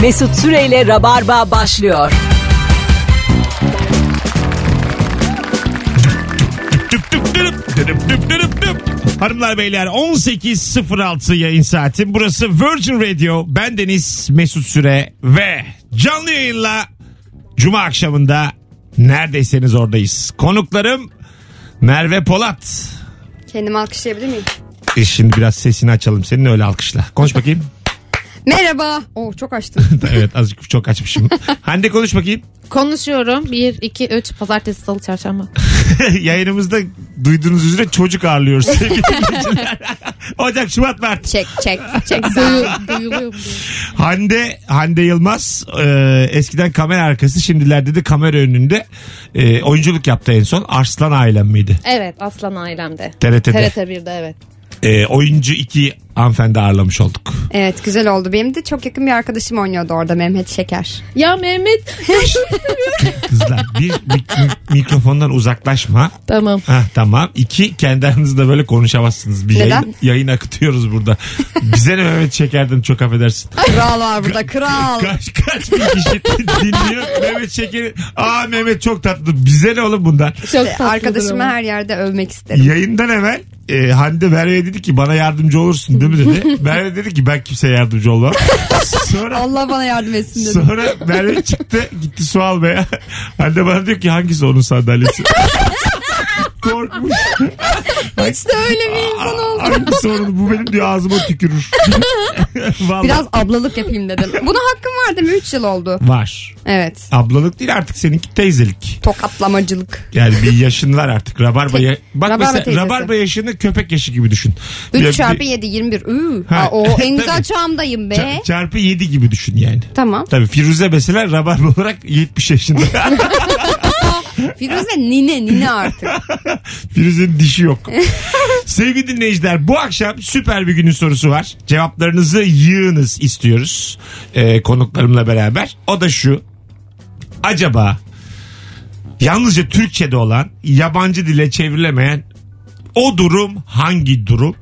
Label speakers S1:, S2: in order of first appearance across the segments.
S1: Mesut Süreyle Rabarba başlıyor.
S2: Düp düp dürüp, dürüp düp dürüp düp. Hanımlar beyler 18.06 yayın saati. Burası Virgin Radio. Ben Deniz Mesut Süre ve canlı yayınla Cuma akşamında neredeyseniz oradayız. Konuklarım Merve Polat.
S3: Kendimi alkışlayabilir miyim?
S2: E şimdi biraz sesini açalım senin öyle alkışla. Konuş bakayım.
S3: Merhaba. Oo çok açtım.
S2: evet azıcık çok açmışım. Hande konuş bakayım.
S4: Konuşuyorum. 1, 2, 3. Pazartesi, salı, çarşamba.
S2: Yayınımızda duyduğunuz üzere çocuk ağırlıyoruz sevgili dinleyiciler. Ocak, Şubat, Mart.
S3: çek çek çek.
S4: Duyu- Duyuluyor mu?
S2: Hande Hande Yılmaz e, eskiden kamera arkası şimdilerde de kamera önünde e, oyunculuk yaptı en son. Arslan Ailem miydi?
S4: Evet. Aslan ailemde.
S2: TRT'de.
S4: TRT1'de evet.
S2: E, oyuncu iki hanımefendi ağırlamış olduk.
S3: Evet güzel oldu. Benim de çok yakın bir arkadaşım oynuyordu orada Mehmet Şeker.
S4: Ya Mehmet.
S2: Kızlar bir mik- mikrofondan uzaklaşma.
S4: tamam.
S2: Heh, tamam. İki kendi aranızda böyle konuşamazsınız. Bir
S3: Neden?
S2: yayın, yayın akıtıyoruz burada. Bize ne Mehmet Şeker'den çok affedersin.
S3: Kral var burada kral.
S2: Kaç kaç bir kişi dinliyor Mehmet Şeker'i. Aa Mehmet çok tatlı. Bize ne oğlum bundan?
S4: Çok tatlıdır
S3: Arkadaşımı
S4: ama.
S3: her yerde övmek isterim.
S2: Yayından evvel e, Hande Merve'ye dedi ki bana yardımcı olursun değil mi dedi. Merve dedi ki ben kimseye yardımcı olmam. Sonra
S3: Allah bana yardım etsin dedim.
S2: sonra Merve çıktı gitti su almaya. Hande bana diyor ki hangisi onun sandalyesi? Korkmuş.
S3: Hiç de öyle bir insan oldu.
S2: Hangisi onun bu benim diyor ağzıma tükürür. Vallahi.
S3: Biraz ablalık yapayım dedim. Buna hakkım var değil mi? 3 yıl oldu.
S2: Var.
S3: Evet.
S2: Ablalık değil artık seninki teyzelik.
S3: Tokatlamacılık.
S2: Yani bir yaşın var artık. Rabarba, ya- bak
S3: Rabarba
S2: mesela
S3: teyzesi.
S2: rabarba yaşını köpek yaşı gibi düşün. Ya
S3: 3
S2: bir-
S3: çarpı 7 21. Üü.
S2: Ha.
S3: Aa, o en güzel
S2: Tabii.
S3: çağımdayım be.
S2: ça- çarpı 7 gibi düşün yani.
S3: Tamam.
S2: Tabii Firuze mesela rabarba olarak 70 yaşında.
S3: Firuze nine nine artık.
S2: Firuze'nin dişi yok. Sevgili dinleyiciler bu akşam süper bir günün sorusu var. Cevaplarınızı yığınız istiyoruz Ee, konuklarımla beraber. O da şu. Acaba yalnızca Türkçe'de olan yabancı dile çevrilemeyen o durum hangi durum?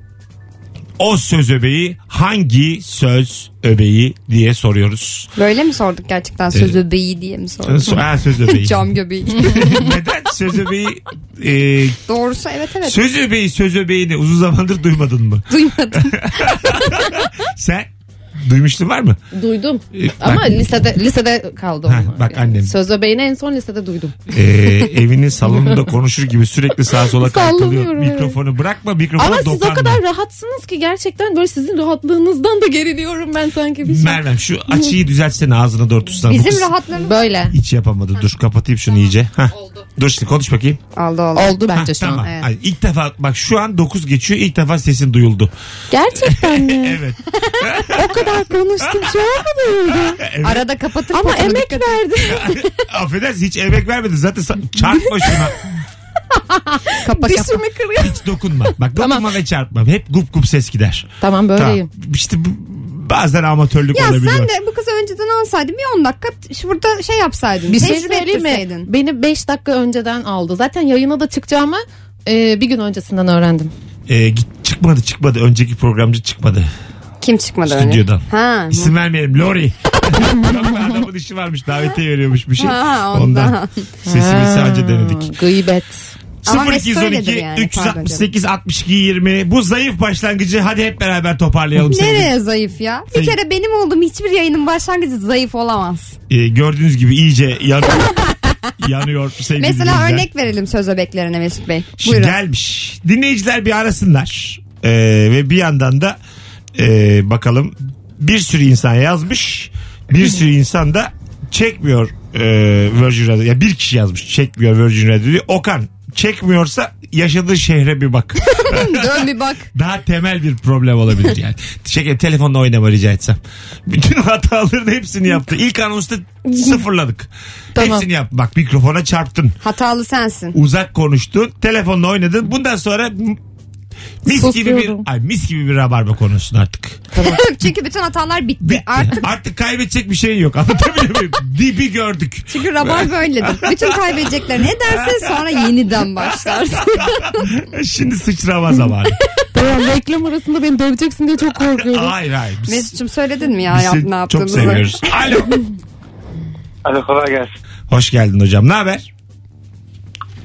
S2: O söz öbeği hangi söz öbeği diye soruyoruz.
S3: Böyle mi sorduk gerçekten? Söz öbeği diye mi sorduk?
S2: Ha, söz öbeği.
S3: Cam göbeği.
S2: Neden söz öbeği e,
S3: Doğrusu evet evet.
S2: söz öbeği söz öbeğini uzun zamandır duymadın mı?
S3: Duymadım.
S2: Sen duymuştun var mı?
S4: Duydum.
S2: Ee, bak-
S4: Ama lisede lisede kaldı
S2: Ha,
S4: onlar.
S2: bak annem.
S4: Söz öbeğini en son lisede duydum.
S2: Ee, evinin salonunda konuşur gibi sürekli sağa sola kaykılıyor.
S4: Sallanıyorum, evet.
S2: Mikrofonu bırakma mikrofona
S4: Ama siz
S2: dokanma.
S4: o kadar rahatsınız ki gerçekten böyle sizin rahatlığınızdan da geriliyorum ben sanki bir şey.
S2: Mervem şu açıyı düzeltsene ağzına doğru tutsana. Bu kız
S3: Bizim rahatlarımız
S4: Böyle.
S2: Hiç yapamadı. Dur kapatayım şunu iyice. Hah. Dur şimdi konuş bakayım.
S3: aldı oldu.
S4: Oldu bence
S2: Hah,
S4: şu
S2: tamam.
S4: an.
S3: evet.
S2: Ay, ilk defa bak şu an 9 geçiyor. İlk defa sesin duyuldu.
S4: Gerçekten mi?
S2: Evet.
S4: o kadar konuştum şey olmadı.
S3: Arada kapatıp
S4: Ama
S3: potunu
S4: emek
S3: dikkat-
S4: verdim.
S2: Affedersin hiç emek vermedin. Zaten sa- çarpma şuna.
S3: kapa kapa.
S4: Dişimi kırıyor.
S2: Hiç dokunma. Bak dokunma ve çarpma. Hep gup gup ses gider.
S4: Tamam böyleyim.
S2: Tamam. İşte bu- bazen amatörlük
S3: Ya
S2: olabiliyor.
S3: sen de bu kızı önceden alsaydın bir 10 dakika t- şurada şey yapsaydın.
S4: Bir şey
S3: tecrübe
S4: söyleyeyim mi?
S3: ettirseydin.
S4: Beni 5 dakika önceden aldı. Zaten yayına da çıkacağımı e, bir gün öncesinden öğrendim.
S2: Ee, git, çıkmadı çıkmadı. Önceki programcı çıkmadı.
S3: Kim çıkmadı öyle?
S2: Stüdyodan.
S3: Ha.
S2: İsim vermeyelim. Lori. Yok, Adamın işi varmış. Davetiye veriyormuş bir şey.
S3: Ha,
S2: ondan.
S3: ondan.
S2: Sesimizi sadece denedik.
S4: Gıybet.
S3: Ama
S2: 0212
S3: Mesut öyledir yani,
S2: 368 62 20 bu zayıf başlangıcı hadi hep beraber toparlayalım sevgili.
S3: Nereye zayıf ya? Bir
S2: Sevgili-
S3: kere benim olduğum hiçbir yayının başlangıcı zayıf olamaz.
S2: Ee, gördüğünüz gibi iyice yanıyor. yanıyor sevgili
S3: Mesela
S2: dinleyiciler.
S3: örnek verelim söz öbeklerine Mesut Bey.
S2: Şimdi
S3: Buyurun.
S2: gelmiş. Dinleyiciler bir arasınlar. Ee, ve bir yandan da e, bakalım bir sürü insan yazmış. Bir sürü insan da çekmiyor e, Virgin Radio. Ya bir kişi yazmış çekmiyor Virgin Radio'yu. Okan çekmiyorsa yaşadığı şehre bir bak.
S3: Dön bir bak.
S2: Daha temel bir problem olabilir yani. Çek, telefonla oynama rica etsem. Bütün hataların hepsini yaptı. İlk anonsta sıfırladık.
S4: Tamam.
S2: Hepsini yap. Bak mikrofona çarptın
S3: Hatalı sensin.
S2: uzak konuştun, telefonla oynadın. Bundan sonra m- mis gibi bir
S4: Susuyorum.
S2: ay mis gibi bir rabarba konuşsun artık.
S3: Çünkü bütün hatalar bitti.
S2: Bitti.
S3: Artık
S2: Artık, kaybedecek bir şey yok. Anlatabiliyor muyum? Dibi gördük.
S3: çünkü rabar böyledir. Bütün kaybedecekler ne dersin sonra yeniden başlarsın.
S2: Şimdi sıçrama zamanı.
S4: Ulan reklam arasında beni döveceksin diye çok korkuyorum.
S2: Hayır hayır. Biz,
S3: Mesut'cum söyledin mi ya
S2: biz
S3: yap,
S2: seni
S3: ne
S2: çok
S3: yaptığımızı?
S2: seviyoruz. Alo.
S5: Hadi kolay gelsin.
S2: Hoş geldin hocam. Ne haber?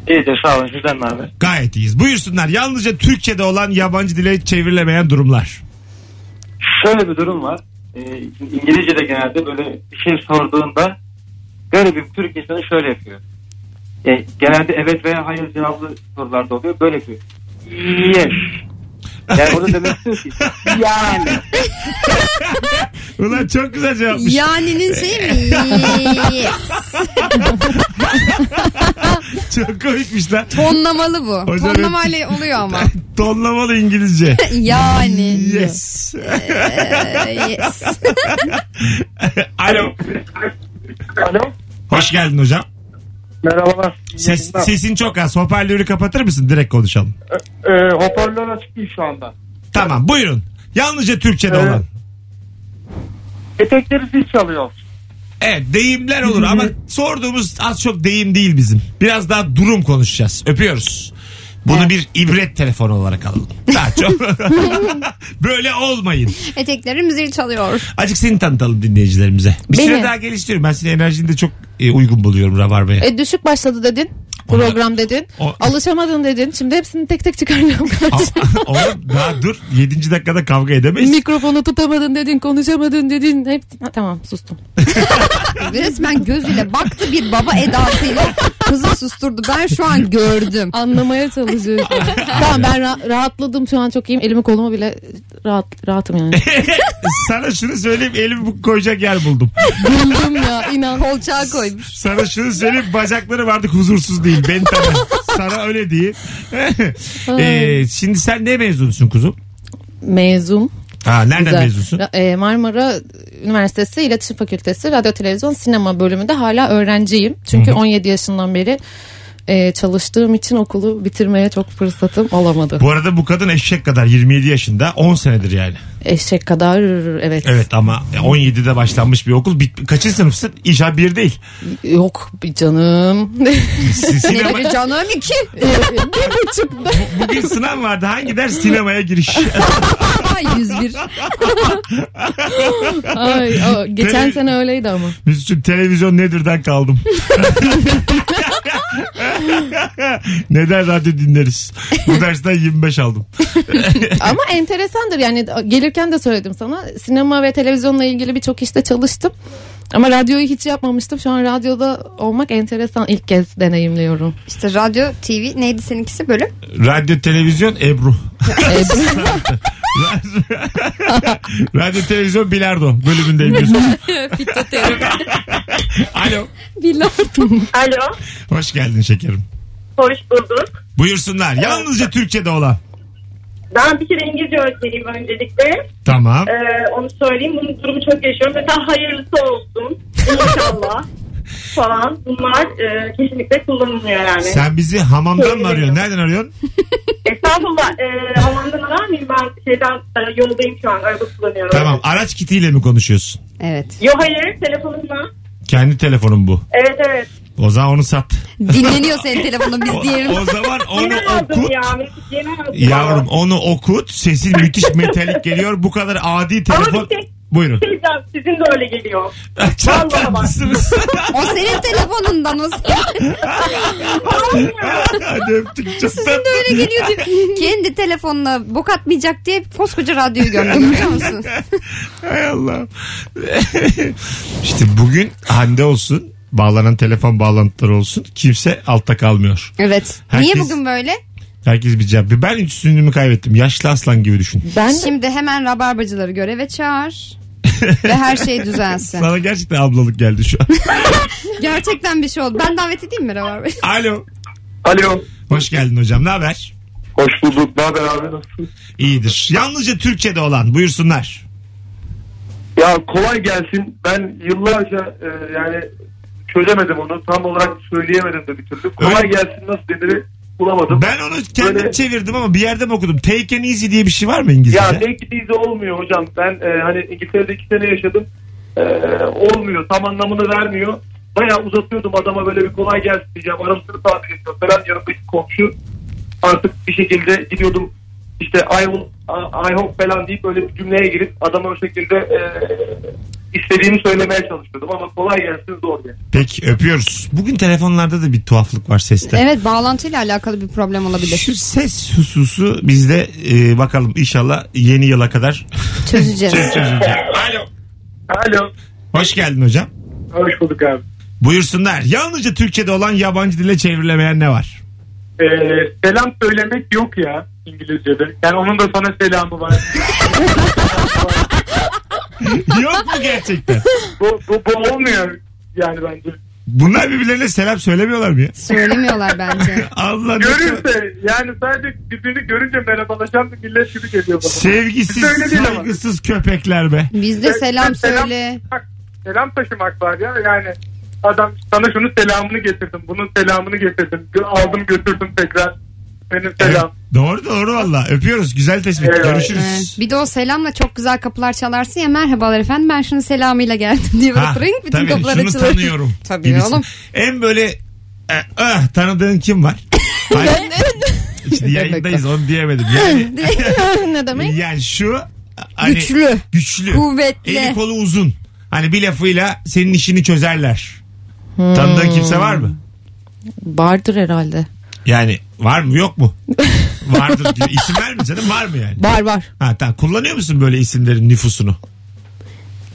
S5: İyidir sağ olun sizden ne haber?
S2: Gayet iyiyiz. Buyursunlar. Yalnızca Türkçe'de olan yabancı dile çevrilemeyen durumlar.
S5: Şöyle bir durum var. Ee, İngilizce'de genelde böyle bir şey sorduğunda garibim Türk insanı şöyle yapıyor. Ee, genelde evet veya hayır cevaplı sorularda oluyor. Böyle yapıyor. Yes. Yani onu demek istiyor ki yani.
S2: Ulan çok güzel cevapmış.
S3: Yani'nin şey mi?
S2: Çok komikmiş lan.
S3: Tonlamalı bu.
S2: Hocam-
S3: Tonlamayla oluyor ama.
S2: Tonlamalı İngilizce.
S3: Yani.
S2: Yes.
S3: Ee, yes.
S2: Alo.
S5: Alo.
S2: Hoş geldin hocam.
S5: Merhabalar.
S2: Ses, sesin çok az. Hoparlörü kapatır mısın? Direkt konuşalım.
S5: Ee, hoparlör açık değil şu anda.
S2: Tamam buyurun. Yalnızca Türkçe'de
S5: Evet.
S2: olan.
S5: Etekleri zil çalıyor.
S2: Evet deyimler olur ama sorduğumuz az çok deyim değil bizim. Biraz daha durum konuşacağız. Öpüyoruz. Bunu bir ibret telefonu olarak alalım. Daha çok. Böyle olmayın.
S3: Eteklerim zil çalıyor.
S2: Acık seni tanıtalım dinleyicilerimize. Bir
S4: Beni.
S2: süre daha geliştiriyorum. Ben senin enerjini de çok e, uygun buluyorum Rabarba'ya.
S4: E, düşük başladı dedin. Program dedin.
S2: O-
S4: Alışamadın dedin. Şimdi hepsini tek tek çıkaracağım.
S2: Ama- Oğlum daha dur. 7. dakikada kavga edemeyiz.
S4: Mikrofonu tutamadın dedin, konuşamadın dedin. Hep Ha, tamam sustum.
S3: Resmen gözüyle baktı bir baba edasıyla kızı susturdu. Ben şu an gördüm.
S4: Anlamaya çalışıyorum. tamam ben ra- rahatladım şu an çok iyiyim. Elimi kolumu bile rahat rahatım yani.
S2: Sana şunu söyleyeyim elimi bu- koyacak yer buldum.
S4: Güldüm ya inan.
S3: Kolçağa koymuş.
S2: Sana şunu söyleyeyim bacakları vardı huzursuz değil. Ben tanı. Sana öyle diyeyim. Ee, şimdi sen ne mezunusun kuzum?
S4: Mezun.
S2: Ha, nereden
S4: Güzel.
S2: mezunsun?
S4: Ra- e, Marmara Üniversitesi İletişim Fakültesi Radyo Televizyon Sinema bölümünde hala öğrenciyim. Çünkü 17 yaşından beri e, çalıştığım için okulu bitirmeye çok fırsatım olamadı.
S2: Bu arada bu kadın eşek kadar 27 yaşında 10 senedir yani.
S4: Eşek kadar evet.
S2: Evet ama 17'de başlanmış bir okul. Bit- Kaçıncı sınıfsın? İnşallah bir değil.
S4: Yok bir canım.
S2: Si- Sinema,
S3: Bir canım iki.
S4: bir buçuk.
S2: bugün sınav vardı. Hangi ders? Sinemaya giriş.
S3: Ay 101.
S4: Ay, o, geçen
S2: Tele-
S4: sene öyleydi ama.
S2: Müslüm televizyon nedirden kaldım. Neden radyo dinleriz? Bu dersten 25 aldım.
S4: Ama enteresandır yani gelirken de söyledim sana. Sinema ve televizyonla ilgili birçok işte çalıştım. Ama radyoyu hiç yapmamıştım. Şu an radyoda olmak enteresan. İlk kez deneyimliyorum.
S3: İşte radyo, TV neydi seninkisi bölüm?
S2: Radyo televizyon Ebru.
S4: E,
S2: Radyo televizyon bilardo bölümündeyim. Yusuf. Alo.
S6: Alo,
S2: Hoş geldin şekerim.
S6: hoş bulduk.
S2: Buyursunlar. Yalnızca Türkçe'de olan.
S6: Ben bir kere İngilizce öğretmeniyim öncelikle.
S2: Tamam.
S6: Ee, onu söyleyeyim. Bunun durumu çok yaşıyorum. Mesela hayırlısı olsun. İnşallah falan. Bunlar e, kesinlikle kullanılmıyor yani.
S2: Sen bizi hamamdan mı arıyorsun? Nereden arıyorsun?
S6: Estağfurullah. E, Havandan arar mıyım? Ben şeyden e, yoldayım şu an. Araba kullanıyorum.
S2: Tamam. Araç kitiyle mi konuşuyorsun?
S3: Evet.
S6: Yo hayır. Telefonumla.
S2: Kendi telefonun bu.
S6: Evet evet.
S2: O zaman onu sat.
S3: Dinleniyor senin telefonun
S2: O,
S3: biz diyelim.
S2: o zaman onu
S6: Yenemezdim
S2: okut.
S6: ya. Mesut yenemezdim.
S2: Yavrum onu okut. Sesin müthiş metalik geliyor. Bu kadar adi telefon.
S6: bir tek-
S2: Buyurun.
S6: Şey diyeceğim, Sizin de öyle geliyor.
S2: Çok
S6: Vallahi bak.
S2: tatlısınız.
S3: O senin telefonundan o senin.
S2: Hadi öptük. Çok
S3: Sizin de
S2: tatlı.
S3: öyle geliyor diyor. Kendi telefonuna bok atmayacak diye koskoca radyoyu gömdüm biliyor musun?
S2: Hay Allah. işte bugün Hande olsun. Bağlanan telefon bağlantıları olsun. Kimse altta kalmıyor.
S3: Evet.
S2: Herkes-
S3: Niye bugün böyle?
S2: Herkes bir cevap. Ben üstünlüğümü kaybettim. Yaşlı aslan gibi düşün.
S4: Ben
S3: Şimdi hemen rabarbacıları göreve çağır. Ve her şey düzelsin.
S2: Sana gerçekten ablalık geldi şu an.
S3: Gerçekten bir şey oldu. Ben davet edeyim mi rabarbacı?
S2: Alo.
S7: Alo.
S2: Hoş geldin hocam. Ne haber?
S7: Hoş bulduk. Ne haber abi nasılsın?
S2: İyidir. Yalnızca Türkçe'de olan buyursunlar.
S7: Ya kolay gelsin. Ben yıllarca e, yani çözemedim onu. Tam olarak söyleyemedim de bir türlü. Kolay
S2: Öyle-
S7: gelsin nasıl denir bulamadım.
S2: Ben onu kendim
S7: Böyle-
S2: çevirdim ama bir yerde mi okudum? Take an easy diye bir şey var mı İngilizce'de?
S7: Ya ne gidiyiz olmuyor hocam. Ben e, hani İngiltere'de iki sene yaşadım. E, olmuyor. Tam anlamını vermiyor. Bayağı uzatıyordum adama böyle bir kolay gelsin diyeceğim. Arasını tabir ediyor falan. Yanımdaki komşu artık bir şekilde gidiyordum işte I, will, I hope falan deyip böyle bir cümleye girip adama o şekilde e, istediğimi söylemeye çalışıyordum ama kolay gelsin zor gelsin.
S2: Peki öpüyoruz. Bugün telefonlarda da bir tuhaflık var seste.
S3: Evet bağlantıyla alakalı bir problem olabilir.
S2: Şu ses hususu bizde e, bakalım inşallah yeni yıla kadar
S3: Çözeceğiz.
S2: çözülecek. Alo.
S7: Alo.
S2: Hoş geldin hocam.
S7: Hoş bulduk abi.
S2: Buyursunlar. Yalnızca Türkçe'de olan yabancı dile çevrilemeyen ne var?
S7: Ee, selam söylemek yok ya İngilizce'de. Yani onun da sana selamı var.
S2: Yok mu gerçekten?
S7: bu, bu, bu olmuyor yani bence.
S2: Bunlar birbirlerine selam söylemiyorlar mı ya?
S3: Söylemiyorlar bence.
S2: Allah ne-
S7: Görürse yani sadece birbirini görünce merhabalaşan bir millet gibi geliyor bana.
S2: Sevgisiz,
S7: Öyle değil ama.
S2: saygısız köpekler be.
S3: Bizde selam
S7: Selam-
S3: söyle.
S7: Selam taşımak var ya yani adam sana şunu selamını getirdim bunun selamını getirdim Gö- aldım götürdüm tekrar benim selam.
S2: Evet. Doğru doğru valla. Öpüyoruz. Güzel tespit.
S7: Evet.
S2: Görüşürüz.
S3: Evet. Bir de o selamla çok güzel kapılar çalarsın ya merhabalar efendim ben şunun selamıyla geldim diye böyle
S2: Ha,
S3: pırıng bütün
S2: tabii,
S3: kapılar
S2: şunu
S3: açılır.
S2: tanıyorum.
S3: Tabii
S2: gibisin.
S3: oğlum.
S2: En böyle e, ah, tanıdığın kim var? Hayır. Şimdi yayındayız onu diyemedim. Yani,
S4: ne demek?
S2: yani şu hani,
S3: Güçlü.
S2: güçlü.
S3: Kuvvetli.
S2: Eli kolu uzun. Hani bir lafıyla senin işini çözerler.
S4: Hmm.
S2: Tanıdığın kimse var mı?
S4: Vardır herhalde.
S2: Yani var mı yok mu? Vardır diyor. İsim vermiyor canım var mı yani?
S4: Var var.
S2: Ha, tamam. Kullanıyor musun böyle isimlerin nüfusunu?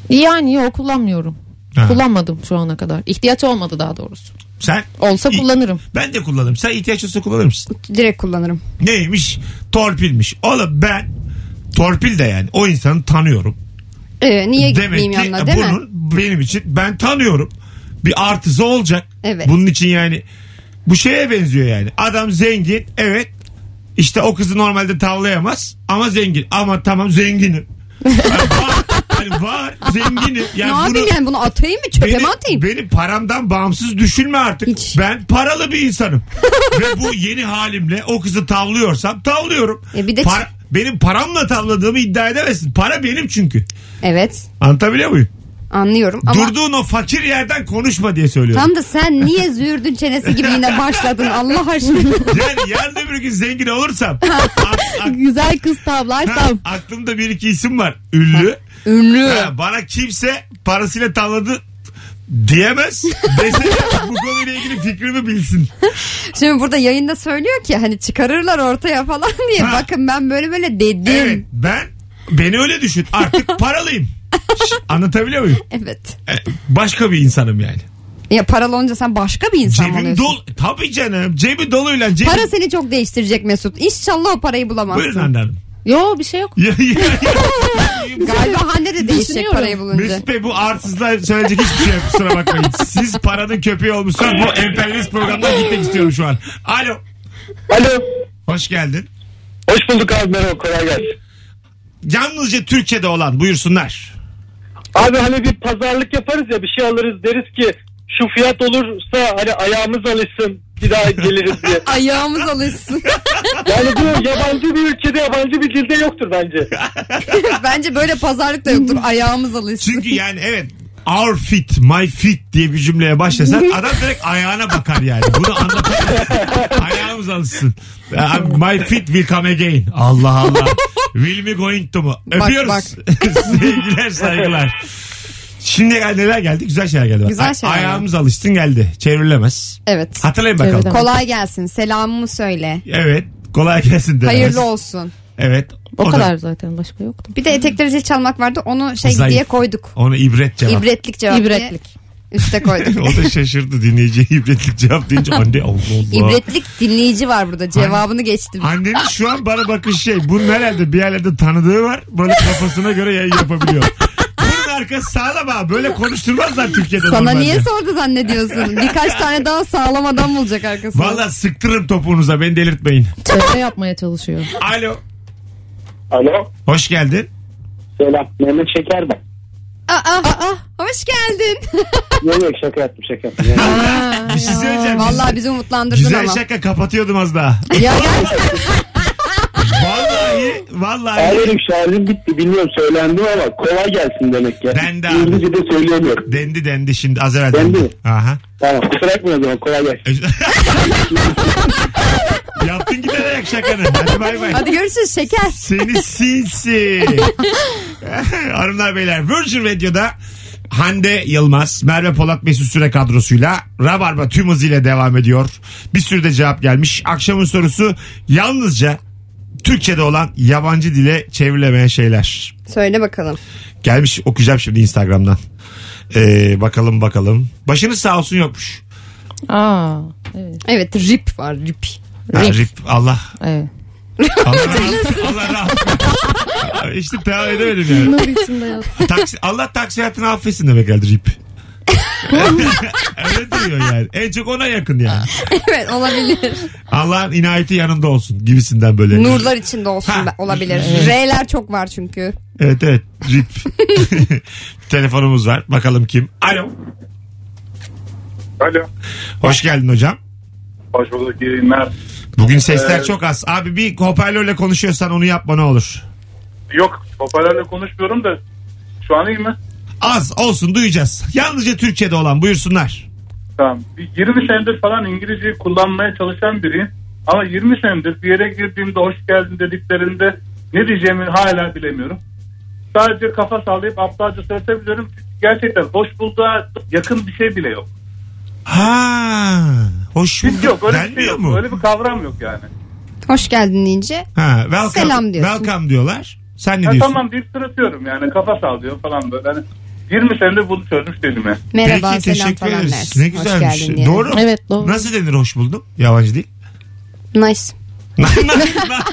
S4: Yani yok kullanmıyorum.
S2: Ha.
S4: Kullanmadım şu ana kadar. İhtiyaç olmadı daha doğrusu.
S2: Sen?
S4: Olsa
S2: İ-
S4: kullanırım.
S2: Ben de kullanırım. Sen ihtiyaç olsa kullanır mısın?
S3: Direkt kullanırım.
S2: Neymiş? Torpilmiş. Oğlum ben torpil de yani o insanı tanıyorum.
S3: Ee, niye
S2: Demek
S3: gitmeyeyim
S2: ki
S3: yanına değil mi?
S2: bunun benim için ben tanıyorum. Bir artısı olacak.
S3: Evet.
S2: Bunun için yani bu şeye benziyor yani. Adam zengin evet. İşte o kızı normalde tavlayamaz ama zengin. Ama tamam zenginim. Yani var, yani var zenginim.
S3: Ne
S2: Yani bunu-
S3: yapayım yani bunu atayım mı çöpe mi atayım?
S2: benim paramdan bağımsız düşünme artık.
S3: Hiç.
S2: Ben paralı bir insanım. Ve bu yeni halimle o kızı tavlıyorsam tavlıyorum.
S3: E bir de-
S2: Para- benim paramla tavladığımı iddia edemezsin. Para benim çünkü.
S3: Evet
S2: Anlatabiliyor muyum?
S3: anlıyorum ama
S2: Durduğun o fakir yerden konuşma diye söylüyorum.
S3: tam da sen niye züğürdün çenesi gibi yine başladın Allah aşkına.
S2: Yani yarın öbür gün zengin olursam ak- ak-
S4: Güzel kız
S2: ha,
S4: tavlarsam.
S2: aklımda bir iki isim var. Ünlü.
S3: Ünlü.
S2: Ha, bana kimse parasıyla tavladı diyemez. Dese bu konuyla ilgili fikrimi bilsin.
S3: Şimdi burada yayında söylüyor ki hani çıkarırlar ortaya falan diye.
S2: Ha.
S3: Bakın ben böyle böyle dedim.
S2: Evet ben beni öyle düşün. Artık paralıyım. Şş, Anlatabiliyor muyum?
S3: Evet.
S2: E, Başka bir insanım yani.
S3: Ya paralı olunca sen başka bir insan
S2: Cebim
S3: oluyorsun.
S2: dolu. Tabii canım. Cebi doluyla cebi.
S3: Para seni çok değiştirecek Mesut. İnşallah o parayı bulamazsın.
S2: Buyurun Hande Hanım.
S4: Yo bir şey yok.
S2: Ya, ya, ya.
S3: Galiba Hande de değişecek
S4: Düşünüyorum.
S3: parayı bulunca.
S2: Mesut Bey bu arsızlar söyleyecek hiçbir şey yok. Kusura bakmayın. Siz paranın köpeği olmuşsunuz. Bu emperyalist programdan gitmek istiyorum şu an. Alo.
S8: Alo.
S2: Hoş geldin.
S8: Hoş bulduk abi merhaba kolay gelsin.
S2: Yalnızca Türkiye'de olan buyursunlar.
S8: Abi hani bir pazarlık yaparız ya bir şey alırız deriz ki şu fiyat olursa hani ayağımız alışsın bir daha geliriz diye.
S3: Ayağımız alışsın.
S8: Yani bu yabancı bir ülkede yabancı bir dilde yoktur bence.
S3: Bence böyle pazarlık da yoktur. Ayağımız alışsın.
S2: Çünkü yani evet our fit, my fit diye bir cümleye başlasan adam direkt ayağına bakar yani. Bunu anlatamazsın. Ayağımız alışsın. Um, My fit will come again. Allah Allah. Will me going to mu? Öpüyoruz.
S3: bak.
S2: Sevgiler saygılar. Şimdi gel- neler geldi? Güzel şeyler geldi. bak.
S3: Güzel şeyler
S2: Ayağımız alışsın geldi. Çevrilemez.
S3: Evet.
S2: Hatırlayın bakalım.
S4: Çevrilemez.
S3: Kolay gelsin. Selamımı söyle.
S2: Evet. Kolay gelsin denemez.
S3: Hayırlı olsun.
S2: Evet.
S4: O,
S2: da-
S4: kadar zaten başka yoktu.
S3: Bir de etekleri zil çalmak vardı. Onu şey
S2: Zayıf.
S3: diye koyduk.
S2: Ona ibret cevap.
S3: İbretlik cevap diye
S4: İbretlik.
S3: Üste koyduk.
S2: o da şaşırdı dinleyiciye ibretlik cevap deyince anne Allah Allah.
S3: İbretlik dinleyici var burada. Cevabını geçtim.
S2: Annenin şu an bana bakış şey. Bunun herhalde bir yerlerde tanıdığı var. Böyle kafasına göre yayın yapabiliyor. Bunun arkası sağlam ha. Böyle konuşturmazlar Türkiye'de
S3: Sana
S2: normalde.
S3: niye sordu zannediyorsun? Birkaç tane daha sağlam adam bulacak arkasında.
S2: Valla sıktırırım topuğunuza beni delirtmeyin.
S4: Çevre yapmaya çalışıyor.
S2: Alo.
S8: Alo
S2: Hoş geldin.
S8: selam Mehmet Şeker ben.
S3: Aa, aa, hoş geldin.
S8: Yok yok şaka yaptım şaka yaptım. Yani
S2: Bir şey söyleyeceğim.
S3: Vallahi bizi umutlandırdın
S2: Güzel
S3: ama.
S2: şaka kapatıyordum az daha.
S3: Ya gerçekten
S2: Vallahi vallahi
S8: Ağlarım şarjım bitti bilmiyorum söylendim ama kolay gelsin demek ya.
S2: Ben de abi.
S8: İngilizce de söyleyemiyorum.
S2: dendi dendi şimdi az evvel
S8: Dendi.
S2: dendi. Aha.
S8: Tamam kusura bakmayın o zaman kolay gelsin.
S2: Yaptın giderek. bırak şakanı. Hadi bay bay.
S3: Hadi görüşürüz şeker.
S2: Seni sinsi. Hanımlar beyler Virgin Radio'da Hande Yılmaz, Merve Polat Mesut Süre kadrosuyla Rabarba tüm hızıyla devam ediyor. Bir sürü de cevap gelmiş. Akşamın sorusu yalnızca Türkçe'de olan yabancı dile çevrilemeyen şeyler.
S3: Söyle bakalım.
S2: Gelmiş okuyacağım şimdi Instagram'dan. Ee, bakalım bakalım. Başınız sağ olsun yokmuş.
S4: Aa, evet.
S3: Evet rip var rip.
S2: Ha, rip. Allah.
S4: evet.
S2: Allah rahat. Allah rahat. işte devam edemedim yani.
S4: Nur içinde yat.
S2: Taksi, Allah taksi hayatını affetsin demek geldi rip. Öyle diyor yani. En çok ona yakın yani.
S3: evet olabilir.
S2: Allah'ın inayeti yanında olsun gibisinden böyle.
S3: Nurlar içinde olsun
S2: Ha.
S3: be- olabilir. R'ler çok var çünkü.
S2: Evet evet rip. Telefonumuz var. Bakalım kim? Alo.
S7: Alo.
S2: Hoş geldin hocam.
S7: Hoş bulduk iyi yayınlar.
S2: Bugün sesler
S7: Evet.
S2: çok az. Abi bir hoparlörle konuşuyorsan onu yapma ne olur.
S7: Yok hoparlörle konuşmuyorum da şu an iyi mi?
S2: Az olsun duyacağız. Yalnızca Türkçe'de olan buyursunlar.
S7: Tamam. Bir 20 senedir falan İngilizceyi kullanmaya çalışan biriyim. Ama 20 senedir bir yere girdiğimde hoş geldin dediklerinde ne diyeceğimi hala bilemiyorum. Sadece kafa sallayıp aptalca söyletebiliyorum. Gerçekten hoş bulduğu yakın bir şey bile yok.
S2: Ha, hoş
S7: Hiç
S2: bulduk.
S7: yok öyle bir şey
S2: Denmiyor
S7: yok.
S2: mu?
S7: Öyle bir kavram yok yani.
S3: Hoş geldin deyince
S2: Ha, welcome,
S3: Selam diyorsun.
S2: Welcome diyorlar. Sen ne
S7: Ya
S2: diyorsun?
S7: tamam deyip sırıtıyorum yani kafa sallıyor falan böyle. Hani 20 senedir bunu çözmüş dedim ya.
S3: merhaba
S2: Peki,
S3: selam
S2: teşekkür
S3: falan
S2: ederiz.
S3: dersin.
S2: Ne
S3: Hoş
S2: güzelmiş.
S3: geldin diye.
S2: Doğru.
S4: Evet, doğru.
S2: Nasıl denir hoş buldum? Yabancı değil.
S3: Nice.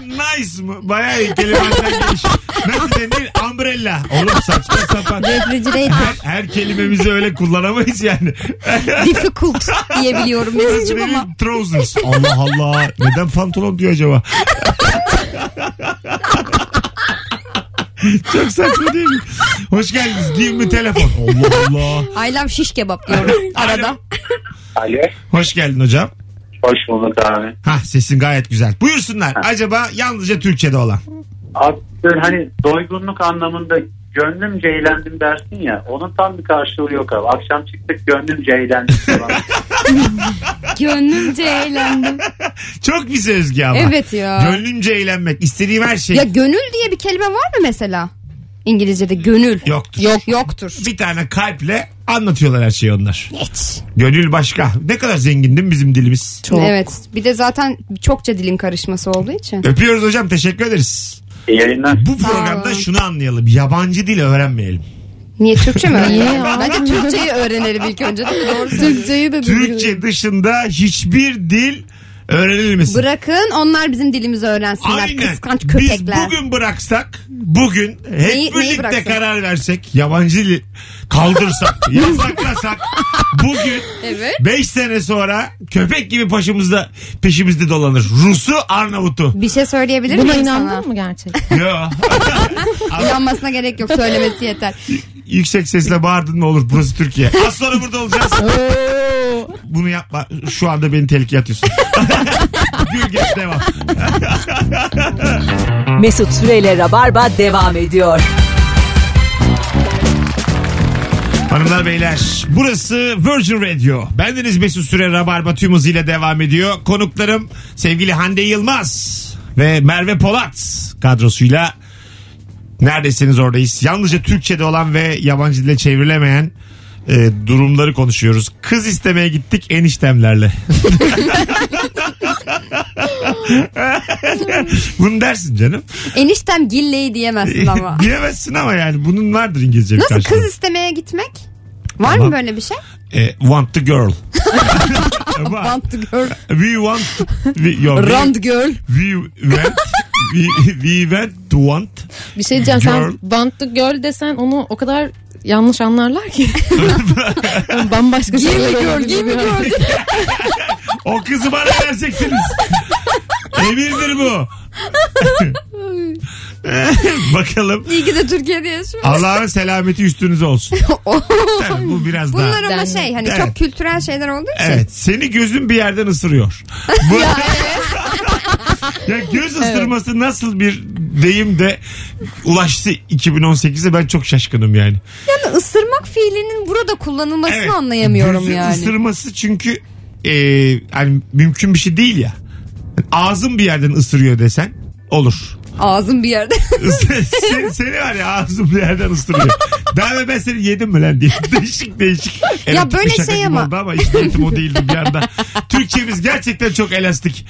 S2: nice mı? Bayağı iyi kelimeden geliş. Nasıl denir? Umbrella. Oğlum saçma sapan.
S3: Refrigerator.
S2: Her, her kelimemizi öyle kullanamayız yani.
S3: Difficult diyebiliyorum Mesut'cum ama.
S2: Benim trousers. Allah Allah. Neden pantolon diyor acaba? Çok saçma değil mi? Hoş geldiniz. Give me telefon. Allah Allah.
S3: I love şiş kebap diyorum arada.
S9: Alo.
S2: Hoş geldin hocam.
S9: Hoş bulduk abi.
S2: Ha sesin gayet güzel. Buyursunlar. Acaba yalnızca Türkçe'de olan.
S9: Abi böyle hani doygunluk anlamında gönlümce eğlendim dersin ya. Onun tam bir karşılığı yok abi. Akşam çıktık gönlümce eğlendim falan.
S3: Gönlümce eğlendim.
S2: Çok bir sezgi ama.
S3: Evet ya.
S2: Gönlünce eğlenmek. istediğim her şey
S3: Ya gönül diye bir kelime var mı mesela? İngilizce'de gönül.
S2: yoktur.
S3: Yok yoktur.
S2: Bir tane kalple anlatıyorlar her şeyi onlar.
S3: Geç.
S2: Gönül başka. Ne kadar zengin değil mi bizim dilimiz?
S4: Çok.
S3: Evet. Bir de zaten çokça dilin karışması olduğu için.
S2: Öpüyoruz hocam. Teşekkür ederiz.
S9: İyi yayınlar.
S2: Bu
S3: Sağ
S2: programda
S3: olun.
S2: şunu anlayalım. Yabancı dil öğrenmeyelim.
S3: Niye Türkçe mi
S4: Niye
S3: öğrenelim?
S4: ya?
S3: Bence Türkçeyi öğrenelim ilk önce değil mi? Doğru söylüyorsun.
S4: Türkçeyi de biliyorum.
S2: Türkçe dışında hiçbir dil öğrenilmesin.
S3: Bırakın onlar bizim dilimizi öğrensinler.
S2: Aynen.
S3: Kıskanç
S2: Biz
S3: köpekler.
S2: bugün bıraksak, bugün hep
S3: Neyi- neyi
S2: birlikte
S3: bıraksak?
S2: karar versek, yabancı dili kaldırsak, yasaklasak, bugün
S3: Evet.
S2: 5 sene sonra köpek gibi peşimizde peşimizde dolanır. Rus'u, Arnavut'u.
S3: Bir şey söyleyebilir
S4: Buna
S3: miyim sana?
S4: inandın mı gerçekten?
S2: Yo.
S3: İnanmasına gerek yok söylemesi yeter.
S2: Yüksek sesle bağırdın mı olur burası Türkiye. Az sonra burada olacağız. Bunu yapma. Şu anda beni tehlikeye atıyorsun. Gülge devam.
S1: Mesut Süreyle Rabarba devam ediyor.
S2: Hanımlar beyler burası Virgin Radio. Bendeniz Mesut Süre Rabarba tüm hızıyla devam ediyor. Konuklarım sevgili Hande Yılmaz ve Merve Polat kadrosuyla neredesiniz oradayız. Yalnızca Türkçe'de olan ve yabancı dile çevrilemeyen e, durumları konuşuyoruz. Kız istemeye gittik eniştemlerle. Bunu dersin canım.
S3: Eniştem gilleyi diyemezsin ama.
S2: Bilemezsin ama yani bunun vardır İngilizce bir
S3: Nasıl
S2: karşılığı.
S3: kız istemeye gitmek? Var
S2: Tamam.
S3: mı böyle bir şey?
S2: E, want the girl. Var.
S3: Want the girl.
S2: we want we, yo, we-
S3: Round girl.
S2: we went we, we went to want
S4: Bir şey diyeceğim sen
S2: Girl.
S4: bantlı göl desen onu o kadar yanlış anlarlar ki. Yani Bambaşka şeyler
S3: Girme girl,
S4: olabilir.
S3: girme girl.
S2: o kızı bana vereceksiniz emirdir bu bakalım
S3: İyi ki de Türkiye'de yaşıyor.
S2: Allah'ın selameti üstünüze olsun Tabii bu biraz daha
S3: Bunlar ama
S4: Yani-
S3: şey hani
S2: Evet.
S3: çok kültürel şeyler olduğu için.
S2: Evet seni gözün bir yerden ısırıyor. Bu... ya, göz ısırması nasıl bir deyim de ulaştı 2018'e ben çok şaşkınım yani.
S3: Yani ısırmak fiilinin burada kullanılmasını
S2: Evet,
S3: anlayamıyorum
S2: gözün
S3: yani.
S2: ısırması çünkü e, hani mümkün bir şey değil ya. ağzın bir yerden ısırıyor desen olur.
S3: Ağzım bir yerde.
S2: Sen- seni var ya ağzım bir yerden ısırıyor. Daha evvel ben seni yedim mi lan diye. Değişik değişik.
S3: Ya böyle
S2: bir şaka
S3: şey
S2: gibi
S3: ama-
S2: Oldu ama hiç niyetim o değildi bir anda. Türkçemiz gerçekten çok elastik.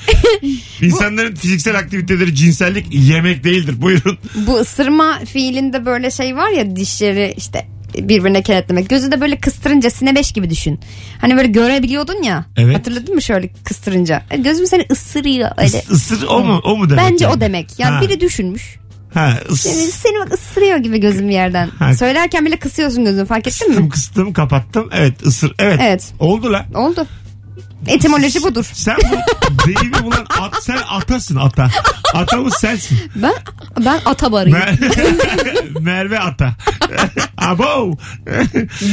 S2: İnsanların fiziksel aktiviteleri cinsellik yemek değildir. Buyurun.
S3: Bu ısırma fiilinde böyle şey var ya dişleri işte birbirine kenetlemek. Gözü de böyle kıstırınca sinebeş gibi düşün. Hani böyle görebiliyordun ya.
S2: Evet.
S3: Hatırladın mı şöyle kıstırınca? E, Gözüm seni ısırıyor öyle.
S2: Is- ısır o mu? O mu demek?
S3: Bence
S2: yani?
S3: o demek. Yani
S2: Ha.
S3: biri düşünmüş.
S2: Ha, ıs-
S3: Seni, seni bak ısırıyor gibi gözüm bir yerden.
S2: Ha.
S3: Söylerken bile kısıyorsun gözünü fark ettin
S2: kıstım
S3: mi?
S2: kıstım kapattım. Evet ısır. Evet.
S3: Evet.
S2: Oldu lan.
S3: Oldu. Etimoloji budur.
S2: Sen bu deyimi bulan at, sen atasın ata. Atamız sensin.
S3: Ben ben ata barıyım.
S2: Mer- Merve ata. Abo.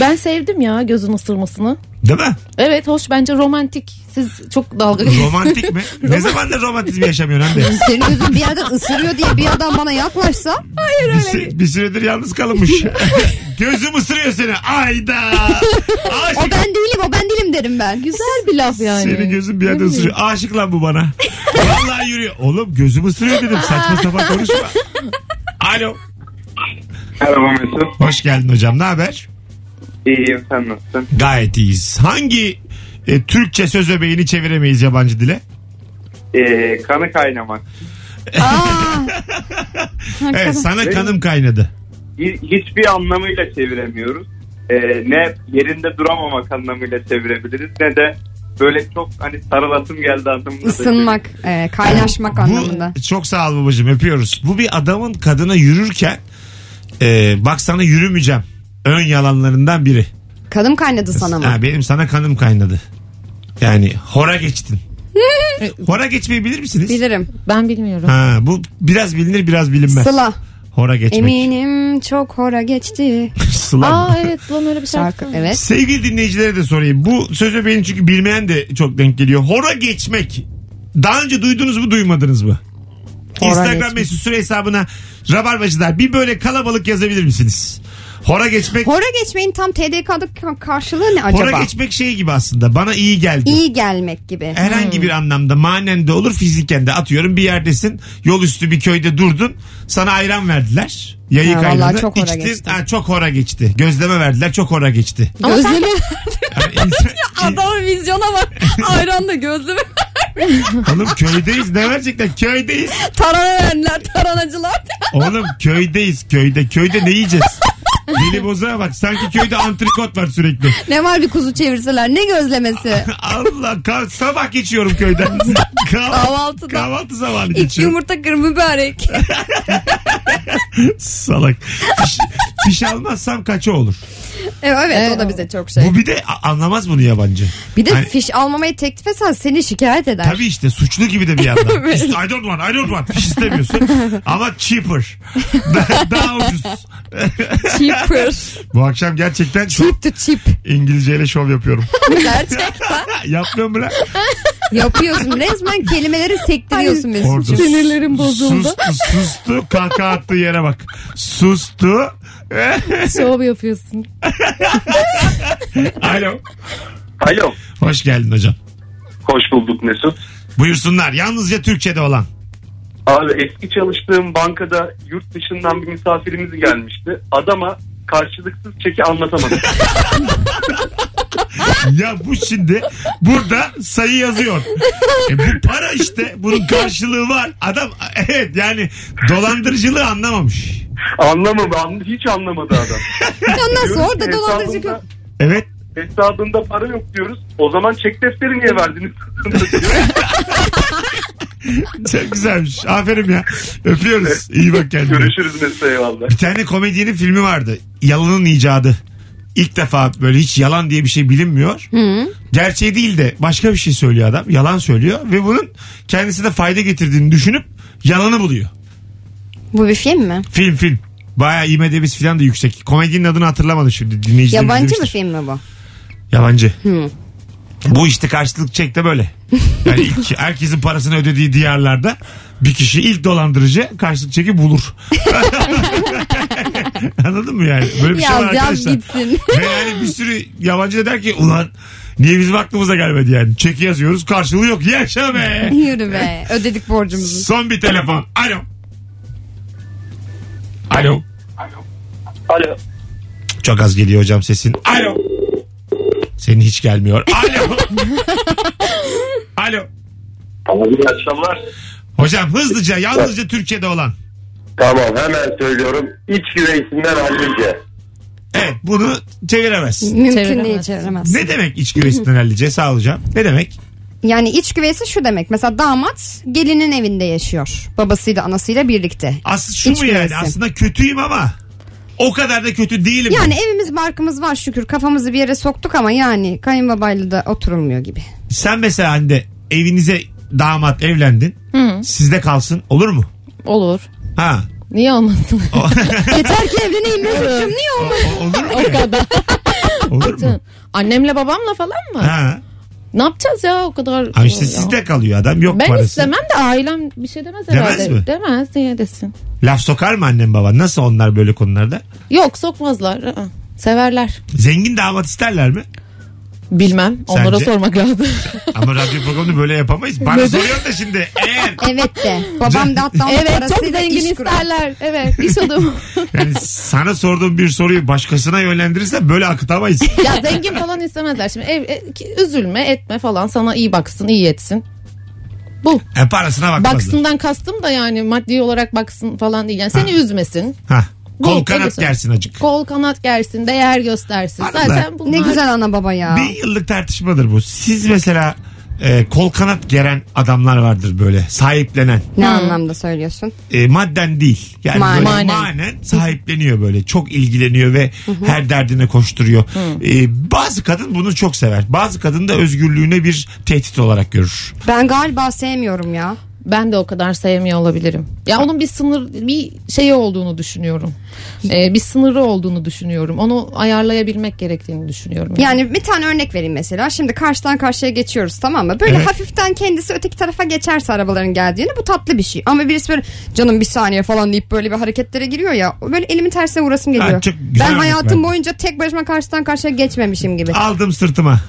S4: Ben sevdim ya gözün ısırmasını.
S2: Değil mi?
S4: Evet hoş bence romantik. Siz çok dalga
S2: Romantik mi? ne zamandır romantizmi yaşamıyorsun hem de?
S3: Senin gözün bir yerden ısırıyor diye bir adam bana yaklaşsa. Hayır
S2: Bir, sü- bir süredir yalnız kalınmış. Gözüm ısırıyor seni. Ayda.
S3: O
S2: Aşık.
S3: ben değilim o ben değilim derim ben.
S4: Güzel bir laf yani.
S2: Senin gözün bir yerde ısırıyor. Aşık lan bu bana. Vallahi yürüyor. Oğlum gözüm ısırıyor dedim. Saçma sapan konuşma. Alo.
S5: Merhaba Mesut.
S2: Hoş geldin hocam. Ne haber?
S5: İyiyim sen nasılsın?
S2: Gayet iyiyiz. Hangi e, Türkçe söz öbeğini çeviremeyiz yabancı dile?
S5: Ee, kanı kaynamak.
S3: Aa,
S2: Evet sana kanım kaynadı.
S5: Hi- Hiçbir anlamıyla çeviremiyoruz. Ee, ne yerinde duramamak anlamıyla çevirebiliriz ne de böyle çok hani sarılasım geldi adımda.
S3: ısınmak, e, kaynaşmak anlamında.
S2: Bu, çok sağ ol babacığım öpüyoruz. Bu bir adamın kadına yürürken e, bak sana yürümeyeceğim. Ön yalanlarından biri.
S3: Kadın kaynadı sana mı?
S2: Ha, benim sana kanım kaynadı. Yani hora geçtin. hora geçmeyi bilir misiniz?
S3: Bilirim.
S4: Ben bilmiyorum.
S2: Ha, bu biraz bilinir biraz bilinmez.
S3: Sıla.
S2: Hora geçmek.
S3: Eminim çok hora geçti.
S2: Sıla.
S4: Aa evet lan öyle bir şarkı.
S3: Şarkı. Evet.
S2: Sevgili dinleyicilere de sorayım. Bu söz öbeğini çünkü bilmeyen de çok denk geliyor. Hora geçmek. Daha önce duydunuz mu duymadınız mı?
S3: Hora
S2: Instagram
S3: geçmek.
S2: mesut süre hesabına rabarbacılar bir böyle kalabalık yazabilir misiniz? Hora geçmek. Hora,
S3: Hora geçmeyin tam TDK'da ka- karşılığı ne acaba?
S2: geçmek şey gibi aslında. Bana iyi geldi.
S3: İyi Hmm. gelmek gibi.
S2: Herhangi bir anlamda manen de olur fiziken de atıyorum bir yerdesin yol üstü bir köyde durdun sana ayran verdiler yayık
S3: Ha, vallahi
S2: ayranı
S3: çok hora
S2: içtin.
S3: geçti.
S2: Ha, çok hora geçti gözleme verdiler çok hora geçti
S3: Gözleme.
S2: Yani insan-
S3: Adamın vizyona bak. Ayran da gözleme.
S2: Oğlum köydeyiz ne gerçekten köydeyiz.
S3: Tarana verenler, taranacılar.
S2: Oğlum köydeyiz köyde. Köyde ne yiyeceğiz? Dili bozağa bak sanki köyde antrikot var sürekli.
S3: ne var bir kuzu çevirseler ne gözlemesi.
S2: Allah kah- sabah geçiyorum köyden. Kahvaltı,
S3: Kahvaltıda.
S2: Kahvaltı zamanı
S3: İki
S2: geçiyorum.
S3: yumurta kırmızı börek.
S2: Salak. Piş, piş almazsam kaça olur?
S3: evet, evet o da bize çok şey.
S2: Bu bir de a- anlamaz bunu yabancı.
S3: Bir de
S2: Hani-
S3: fiş almamayı teklif etsen seni şikayet eder.
S2: Tabii işte suçlu gibi de bir yandan. İşte, I don't want, I don't want. Fiş istemiyorsun. Ama cheaper. Da- daha ucuz.
S3: Cheaper.
S2: Bu akşam gerçekten çok
S3: Cheap to cheap.
S2: İngilizceyle şov yapıyorum.
S3: Gerçekten.
S2: Yapmıyorum bile.
S3: Yapıyorsun resmen kelimeleri sektiriyorsun Mesut'cum.
S4: Sinirlerim bozuldu.
S2: Sustu, sustu kahkaha attığı yere bak. Sustu.
S4: Şov yapıyorsun.
S2: Alo.
S5: Alo.
S2: Hoş geldin hocam.
S5: Hoş bulduk Mesut.
S2: Buyursunlar. Yalnızca Türkçe'de olan.
S5: Abi eski çalıştığım bankada yurt dışından bir misafirimiz gelmişti. Adama karşılıksız çeki anlatamadım.
S2: Ya bu şimdi burada sayı yazıyor. E bu para işte. Bunun karşılığı var. Adam evet yani dolandırıcılığı anlamamış.
S5: anlamadı. anla- Hiç anlamadı adam.
S3: Ya nasıl
S5: Diyoruz
S3: orada
S5: ki
S3: dolandırıcı
S5: hesabında-
S3: yok.
S2: Evet.
S5: Hesabında para yok diyoruz. O zaman çek defteri niye verdiniz?
S2: Çok güzelmiş. Aferin ya. Öpüyoruz. İyi bak kendine.
S5: Görüşürüz mesela eyvallah.
S2: Bir tane komedyenin filmi vardı. Yalanın icadı. İlk defa böyle hiç yalan diye bir şey bilinmiyor. Gerçeği değil de başka bir şey söylüyor adam. Yalan söylüyor ve bunun kendisine fayda getirdiğini düşünüp yalanı buluyor.
S3: Bu bir film mi?
S2: Film film. Bayağı IMDb'si falan da yüksek. Komedinin adını hatırlamadım şimdi. Dinleyiciler
S3: Yabancı
S2: izlemiştir.
S3: bir film mi bu?
S2: Yabancı. Bu işte karşılık çek de böyle. Yani ilk herkesin parasını ödediği diyarlarda bir kişi ilk dolandırıcı karşılık çeki bulur. Anladın mı yani? Böyle bir şey var
S3: Yaz yaz
S2: arkadaşlar.
S3: gitsin.
S2: Ve yani bir sürü yabancı da der ki ulan niye bizim aklımıza gelmedi yani. Çeki yazıyoruz karşılığı yok. Yaşa be.
S3: Yürü be. Ödedik borcumuzu.
S2: Son bir telefon. Alo. Alo.
S8: Alo.
S2: Çok az geliyor hocam sesin. Alo. Senin hiç gelmiyor. Alo. Alo.
S8: İyi akşamlar.
S2: Hocam hızlıca yalnızca Türkiye'de olan.
S8: Tamam hemen söylüyorum. İç güveysinden hallice.
S2: Evet bunu çeviremez.
S3: Mümkün
S4: Çeviremez.
S3: değil çeviremez.
S2: Ne demek iç güveysinden hallice sağ ol hocam. Ne demek?
S3: Yani iç güveysi şu demek. Mesela damat gelinin evinde yaşıyor. Babasıyla anasıyla birlikte.
S2: Aslında şu
S3: İç
S2: mu yani
S3: güveysi.
S2: aslında kötüyüm ama o kadar da kötü değilim.
S3: Yani evimiz barkımız var şükür. Kafamızı bir yere soktuk ama yani kayınbabayla da oturulmuyor gibi.
S2: Sen mesela Hande evinize damat evlendin. Sizde kalsın olur mu?
S4: Olur.
S2: Ha.
S4: Niye olmasın?
S3: Yeter ki evleneyim Mesut'cum niye
S2: O-
S3: olmaz?
S2: o- olur mu?
S4: o kadar.
S2: Olur mu?
S4: Annemle babamla falan mı?
S2: Ha.
S4: Ne yapacağız ya o kadar?
S2: Ama işte
S4: Ya.
S2: sizde kalıyor adam yok
S4: Ben
S2: parası.
S4: istemem de ailem bir şey demez
S2: Demez
S4: herhalde.
S2: mi?
S4: Demez niye desin.
S2: Laf sokar mı annem baban? Nasıl onlar böyle konularda?
S4: Yok sokmazlar. Aa, Severler.
S2: Zengin damat isterler mi?
S4: Bilmem. Onlara
S2: Sence?
S4: sormak lazım.
S2: Ama radyo programını böyle yapamayız. Bana soruyorsun da şimdi. Eğer
S3: Evet de. Babam da hatta onun
S4: evet çok
S3: parasıyla
S4: zengin
S3: iş kurar.
S4: isterler. Evet iş adamı.
S2: yani sana sorduğum bir soruyu başkasına yönlendirirsen böyle akıtamayız.
S4: ya zengin falan istemezler. Şimdi ev, e- ki- üzülme etme falan sana iyi baksın iyi etsin. Bu.
S2: E parasına bakmaz.
S4: Baksından kastım da yani maddi olarak baksın falan değil. Yani seni üzmesin.
S2: Hah. Kol
S4: Yok, öyle
S2: kanat
S4: söyle.
S2: gersin acık.
S4: Kol kanat gersin, değer göstersin.
S2: Arada.
S4: Zaten bunlar...
S3: Ne güzel ana baba ya.
S2: Bir yıllık tartışmadır bu. Siz mesela e, kol kanat geren adamlar vardır böyle sahiplenen.
S3: Ne anlamda söylüyorsun?
S2: E, madden değil. Yani
S3: Manen.
S2: böyle
S4: Manen.
S2: manen sahipleniyor böyle. Çok ilgileniyor ve her derdine koşturuyor. E, bazı kadın bunu çok sever. Bazı kadın da özgürlüğüne bir tehdit olarak görür.
S3: Ben galiba sevmiyorum ya.
S4: Ben de o kadar sevmiyor olabilirim. Ya onun bir sınır, bir şeyi olduğunu düşünüyorum. Ee, bir sınırı olduğunu düşünüyorum. Onu ayarlayabilmek gerektiğini düşünüyorum.
S3: Yani bir tane örnek vereyim mesela. Şimdi karşıdan karşıya geçiyoruz tamam mı? Böyle
S2: Evet.
S3: hafiften kendisi öteki tarafa geçerse arabaların geldiğini bu tatlı bir şey. Ama birisi böyle canım bir saniye falan deyip böyle bir hareketlere giriyor ya. o Böyle elimin tersine vurasım geliyor.
S2: Ha, çok güzel
S3: ben
S2: örnek
S3: hayatım
S2: verdin.
S3: boyunca tek başıma karşıdan karşıya geçmemişim gibi.
S2: Aldım sırtıma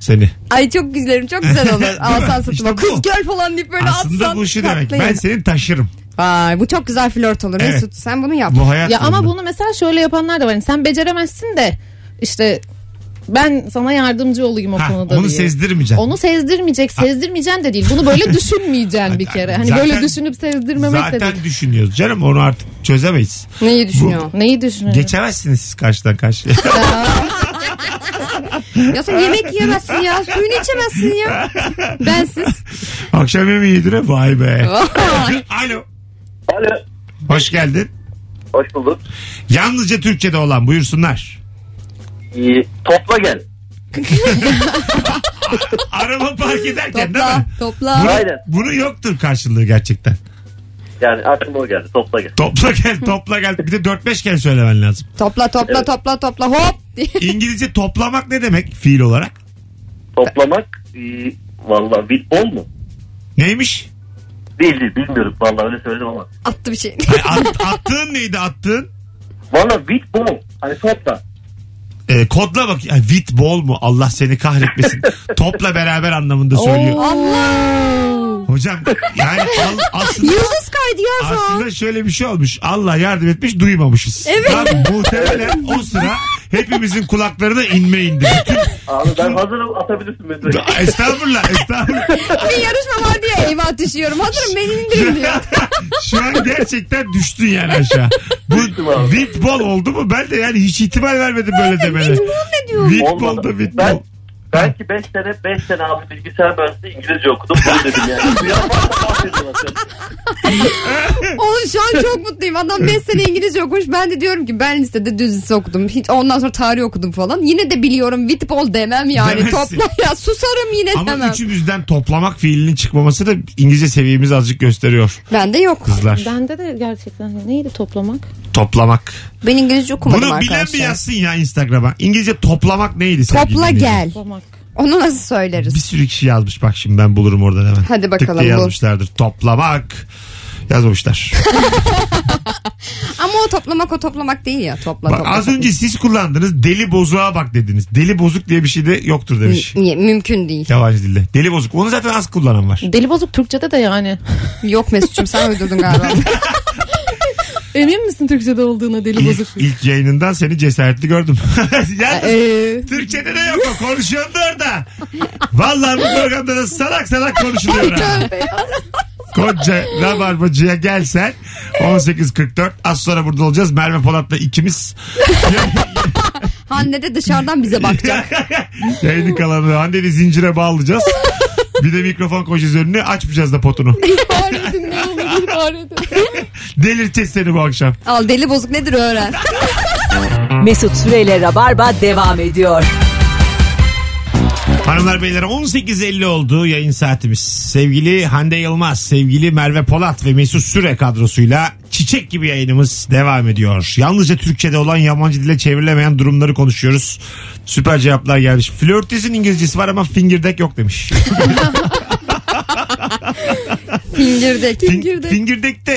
S2: seni.
S3: Ay çok güzelim çok güzel olur.
S2: Değil mi?
S3: Alsan
S2: İşte
S3: sırtıma.
S2: bu.
S3: Kız gel falan deyip böyle
S2: Aslında
S3: atsan.
S2: bu şu demek.
S3: tatlı
S2: Ben
S3: yani.
S2: seni taşırım.
S3: Vay, bu çok güzel flört olur
S2: Evet.
S3: Mesut. Sen bunu yap.
S2: Bu hayat.
S4: Ya ama
S2: yolunda.
S4: bunu mesela şöyle yapanlar da var. Yani sen beceremezsin de işte ben sana yardımcı olayım o
S2: Ha,
S4: konuda
S2: onu
S4: diye.
S2: sezdirmeyeceksin.
S4: Onu sezdirmeyecek, sezdirmeyeceksin de değil. Bunu böyle düşünmeyeceksin bir kere. Hani
S2: Zaten-
S4: böyle düşünüp sezdirmemek de
S2: Zaten
S4: değil.
S2: düşünüyoruz canım onu artık çözemeyiz.
S3: Neyi düşünüyor?
S4: Neyi düşünüyorsun?
S2: Geçemezsiniz siz karşıdan karşıya.
S3: ya sen yemek yiyemezsin ya. Suyunu içemezsin ya. Bensiz.
S2: Akşam yemeği yedire vay be. Alo.
S8: Alo.
S2: Hoş geldin.
S8: Hoş bulduk.
S2: Yalnızca Türkçe'de olan buyursunlar.
S8: topla gel.
S2: Araba park ederken değil
S3: Topla
S2: mi?
S3: topla.
S2: Bunu,
S8: Aynen.
S2: bunu yoktur karşılığı gerçekten.
S8: Yani aklıma o geldi. Topla gel.
S2: Topla gel topla gel. Bir de 4-5 kere söylemen lazım.
S3: Topla topla topla topla hop.
S2: İngilizce toplamak ne demek fiil olarak?
S8: Toplamak. Valla bol mu?
S2: Neymiş?
S8: Değil değil bilmiyorum. Valla öyle söyledim ama.
S3: Attı bir şey.
S2: Ay, at- attığın neydi attığın?
S8: Valla bol. Hani topla.
S2: Ee, kodla bak. Ay, Wit ball mu? Allah seni kahretmesin. Topla beraber anlamında söylüyor.
S3: Allah.
S2: Hocam yani al- aslında
S3: Yıldız kaydı ya şu an.
S2: Aslında şöyle bir şey olmuş. Allah yardım etmiş duymamışız. Evet. muhtemelen o sıra hepimizin kulaklarına inme indi. Bütün,
S8: Abi ben hazırım atabilirsin mesela.
S2: estağfurullah estağfurullah.
S3: Bir yarışma var diye eyvah düşüyorum. Hazırım beni indirin diyor.
S2: Şu an gerçekten düştün yani aşağı. Bu
S8: Düştüm abi.
S2: vitbol oldu mu? Ben de yani hiç ihtimal vermedim böyle demene.
S3: ne diyor?
S2: Vitbol da
S8: Olmadı.
S2: vitbol.
S8: Ben- Belki 5 sene 5 sene abi bilgisayar mühendisliği İngilizce okudum. Bunu dedim yani. Ya,
S3: Oğlum şu an çok mutluyum. Adam 5 sene İngilizce okumuş. Ben de diyorum ki ben lisede düz lise okudum. Hiç, ondan sonra tarih okudum falan. Yine de biliyorum Witbol demem yani.
S2: Demezsin.
S3: Topla ya susarım yine
S2: Ama
S3: demem.
S2: üçümüzden toplamak fiilinin çıkmaması da İngilizce seviyemizi azıcık gösteriyor
S3: Bende yok.
S2: kızlar.
S4: Bende de gerçekten neydi toplamak?
S2: Toplamak.
S3: Ben İngilizce okumadım
S2: Bunu bilen
S3: arkadaşlar.
S2: bir yazsın ya Instagram'a. İngilizce toplamak neydi? sevgili
S3: Topla
S2: dinleyiciler?
S3: gel.
S4: Toplamak.
S3: Onu nasıl
S2: Bir
S3: söyleriz?
S2: sürü kişi yazmış bak şimdi ben bulurum oradan hemen.
S3: Hadi bakalım,
S2: Tık diye
S3: bul.
S2: yazmışlardır. Toplamak. yazmamışlar.
S3: Ama o toplamak o toplamak değil ya. Topla
S2: Bak,
S3: topla.
S2: az
S3: topla.
S2: önce siz kullandınız deli bozuğa bak dediniz. Deli bozuk diye bir şey de yoktur demiş.
S3: Niye? Mümkün değil.
S2: Yabancı dilde. Deli bozuk. Onu zaten az kullanan var.
S4: Deli bozuk Türkçe'de de yani.
S3: Yok Mesut'cum sen uydurdun galiba.
S4: Emin misin Türkçe'de olduğuna deli
S2: İlk,
S4: bozuk?
S2: ilk yayınından seni cesaretli gördüm. Yalnız
S4: Ee,
S2: Türkçe'de de yok o. Konuşuyorsun da orada. Vallahi bu programda da salak salak konuşuluyor. ha. Koca rabarbacıya gelsen 18.44 az sonra burada olacağız. Merve Polat'la ikimiz
S3: Hande de dışarıdan bize bakacak.
S2: yayını kalanı Hande'yi zincire bağlayacağız. Bir de mikrofon koyacağız önüne açmayacağız da potunu.
S4: ihbar edin ne olur ihbar edin.
S2: Delirteceğiz seni bu akşam.
S3: Al deli bozuk nedir öğren.
S1: Mesut Süreyle Rabarba devam ediyor.
S2: Hanımlar beyler 18.50 oldu yayın saatimiz. Sevgili Hande Yılmaz, sevgili Merve Polat ve Mesut Süre kadrosuyla çiçek gibi yayınımız devam ediyor. Yalnızca Türkçe'de olan yabancı dile çevrilemeyen durumları konuşuyoruz. Süper cevaplar gelmiş. Flörtesin İngilizcesi var ama fingirdek yok demiş.
S3: Fingirdek.
S2: Fingirdek. Fingirdek'te